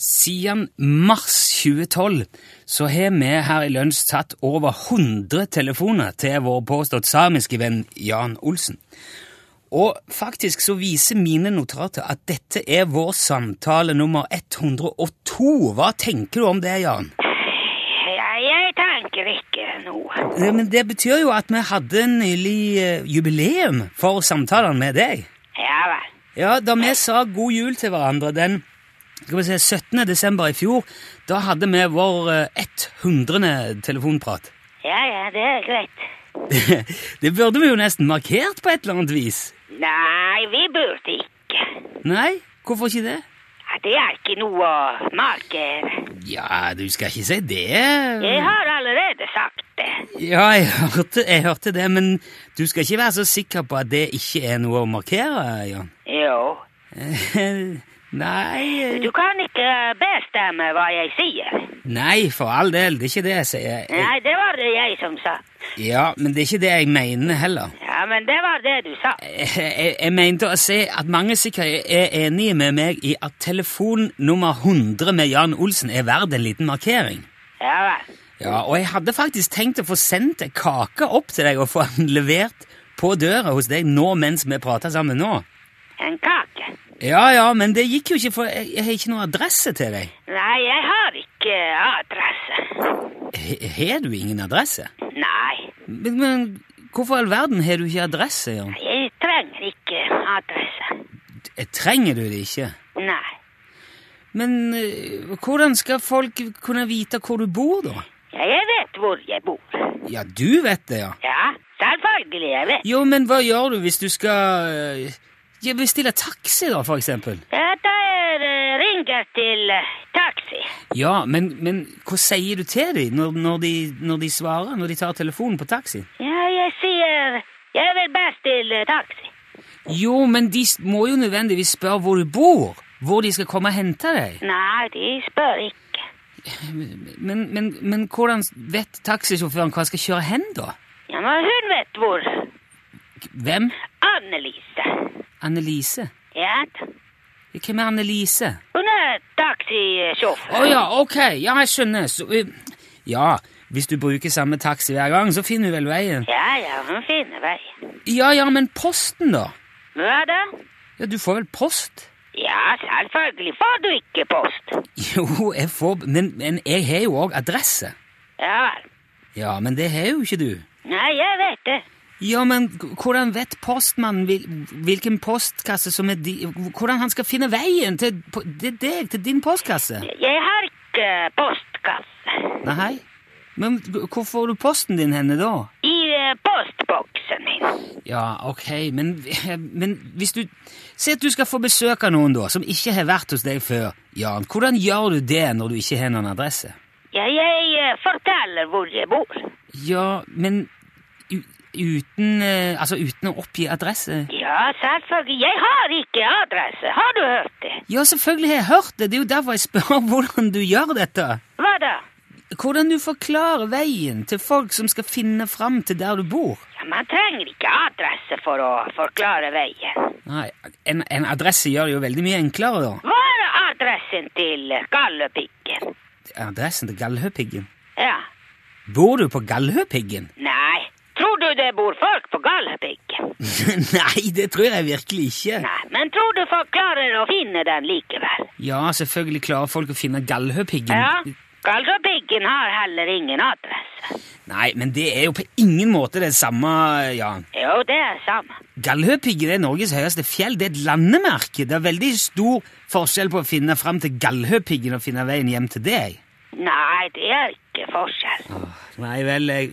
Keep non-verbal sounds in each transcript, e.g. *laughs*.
Siden mars 2012 så har vi her i Lunsj tatt over 100 telefoner til vår påstått samiske venn Jan Olsen. Og faktisk så viser mine notater at dette er vår samtale nummer 102. Hva tenker du om det, Jan? Ja, jeg tenker ikke noe. Eh, Men det betyr jo at vi hadde nylig eh, jubileum for samtalene med deg. Ja vel. Ja, da vi sa god jul til hverandre den skal vi se, 17. desember i fjor, da hadde vi vår eh, 100. telefonprat. *laughs* Ja, ja, det er greit. Det burde vi jo nesten markert på et eller annet vis. Nei, vi burde ikke. Nei, hvorfor ikke det? Ja, Det er ikke noe å markere. Ja, du skal ikke si det. Mm. Jeg har allerede sagt det. Ja, jeg hørte, jeg hørte det, men du skal ikke være så sikker på at det ikke er noe å markere, Jan. *laughs* Jo. Nei eh, Du kan ikke bestemme hva jeg sier. Nei, for all del, det er ikke det jeg sier. Jeg- Nei, det var det jeg som sa. Ja, men det er ikke det jeg mener heller. Ja, men det var det du sa. Jeg, jeg, Eh, jeg mente å si at mange sikkert er enige med meg i at telefon nummer 100 med Jan Olsen er verdt en liten markering. Ja vel. Ja, og jeg hadde faktisk tenkt å få sendt en kake opp til deg og få den levert på døra hos deg nå mens vi prater sammen nå. En kake. Ja, ja, men det gikk jo ikke, for jeg, jeg har ikke noen adresse til deg. Nei, jeg har ikke adresse. He- Har du ingen adresse? Nei, Men, men hvorfor i all verden har du ikke adresse, Jan? jeg trenger ikke adresse. Eh, Trenger du det ikke? Nei. Men eh, hvordan skal folk kunne vite hvor du bor, da? Ja, jeg vet hvor jeg bor. Ja, du vet det, ja. Ja, selvfølgelig jeg vet. Jo, men hva gjør du hvis du skal eh, ja, bestille taxi, da, for eksempel? Jeg tar eh, ringer til eh, taxi. Ja, men, men hva sier du til dem når, når, de, når de svarer, når de tar telefonen på taxi? Ja, jeg sier jeg vil best til eh, taxi. Jo, men de s- må jo nødvendigvis spørre hvor du bor, hvor de skal komme og hente deg. Nei, de spør ikke. Men, men, men hvordan vet taxisjåføren hva han skal kjøre hen, da? Ja, men hun vet hvor. Hvem? Annelise. Annelise? Ja, da. Hvem er Annelise? hun er Å taxisjåfør. ja, ok, ja, jeg skjønner. Så, eh, ja, hvis du bruker samme taxi hver gang, så finner du vel veien. Ja, ja, hun finner veien. Ja, ja, men posten, da? Hva da? Ja, du får vel post? Ja, selvfølgelig får du ikke post. *laughs* Jo, jeg får Men, men jeg har jo òg adresse. Ja vel. Ja, men det har jo ikke du. Nei, jeg vet det. Ja, men k- hvordan vet postmannen hvil, hvilken postkasse som er di... Hvordan han skal finne veien til, po- til deg, til din postkasse? Jeg har ikke postkasse. Nei? Men g- hvor får du posten din henne, da? I eh, postboksen min. Ja, ok, men, *laughs* men hvis du Si at du skal få besøk av noen, da, som ikke har vært hos deg før. Jan, hvordan gjør du det når du ikke har noen adresse? Ja, jeg eh, forteller hvor jeg bor. Ja, men u- uten eh, Altså uten å oppgi adresse? Ja, selvfølgelig. Jeg har ikke adresse. Har du hørt det? Ja, selvfølgelig har jeg hørt det! Det er jo derfor jeg spør hvordan du gjør dette. Hva da? Hvordan du forklarer veien til folk som skal finne fram til der du bor? Ja, man trenger ikke adresse for å forklare veien. Nei, en, en adresse gjør det jo veldig mye enklere, da. Hva er adressen til eh, gallepikken? Adressen til Gallhøpiggen. Ja. Bor du på Gallhøpiggen? Nei. Tror du det bor folk på gallepikken? *laughs* Nei, det tror jeg virkelig ikke. Nei, men tror du folk klarer å finne den likevel? Ja, selvfølgelig klarer folk å finne Gallhøpiggen. Ja. Gallepiggen har heller ingen adresse. Nei, men det er jo på ingen måte det samme, Jan. Jo, det er samme. Gallhøpiggen er Norges høyeste fjell. Det er et landemerke. Det er veldig stor forskjell på å finne fram til Gallhøpiggen og finne veien hjem til deg. Nei, det er ikke forskjell. Nei vel, jeg...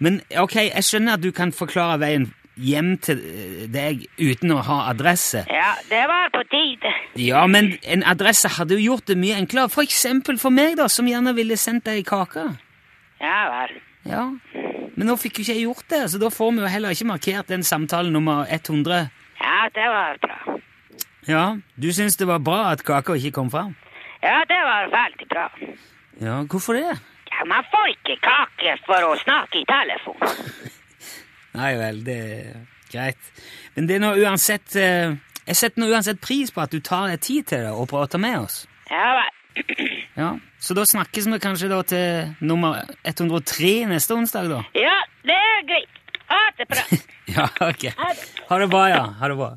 Men ok, jeg skjønner at du kan forklare veien hjem til eh, deg uten å ha adresse. Ja, det var på tide. Ja, men en adresse hadde jo gjort det mye enklere. For eksempel for meg, da, som gjerne ville sendt deg kake. Ja vel. Ja. Men nå fikk jo ikke jeg gjort det, så da får vi jo heller ikke markert den samtalen nummer 100. Ja, det var bra. Ja, du syns det var bra at kaka ikke kom fram? Ja, det var veldig bra. Ja, hvorfor det? Ja, man får ikke kake for å snakke i telefon. Nei vel, det er greit. Men det er nå uansett eh, Jeg setter nå uansett pris på at du tar deg tid til det og prater med oss. Ja vel. Ja, Så da snakkes vi kanskje da til nummer 103 neste onsdag, da? Ja, det er greit. Ha det bra. Ja, ok. Ha det. Ha det bra, ja. Ha det bra.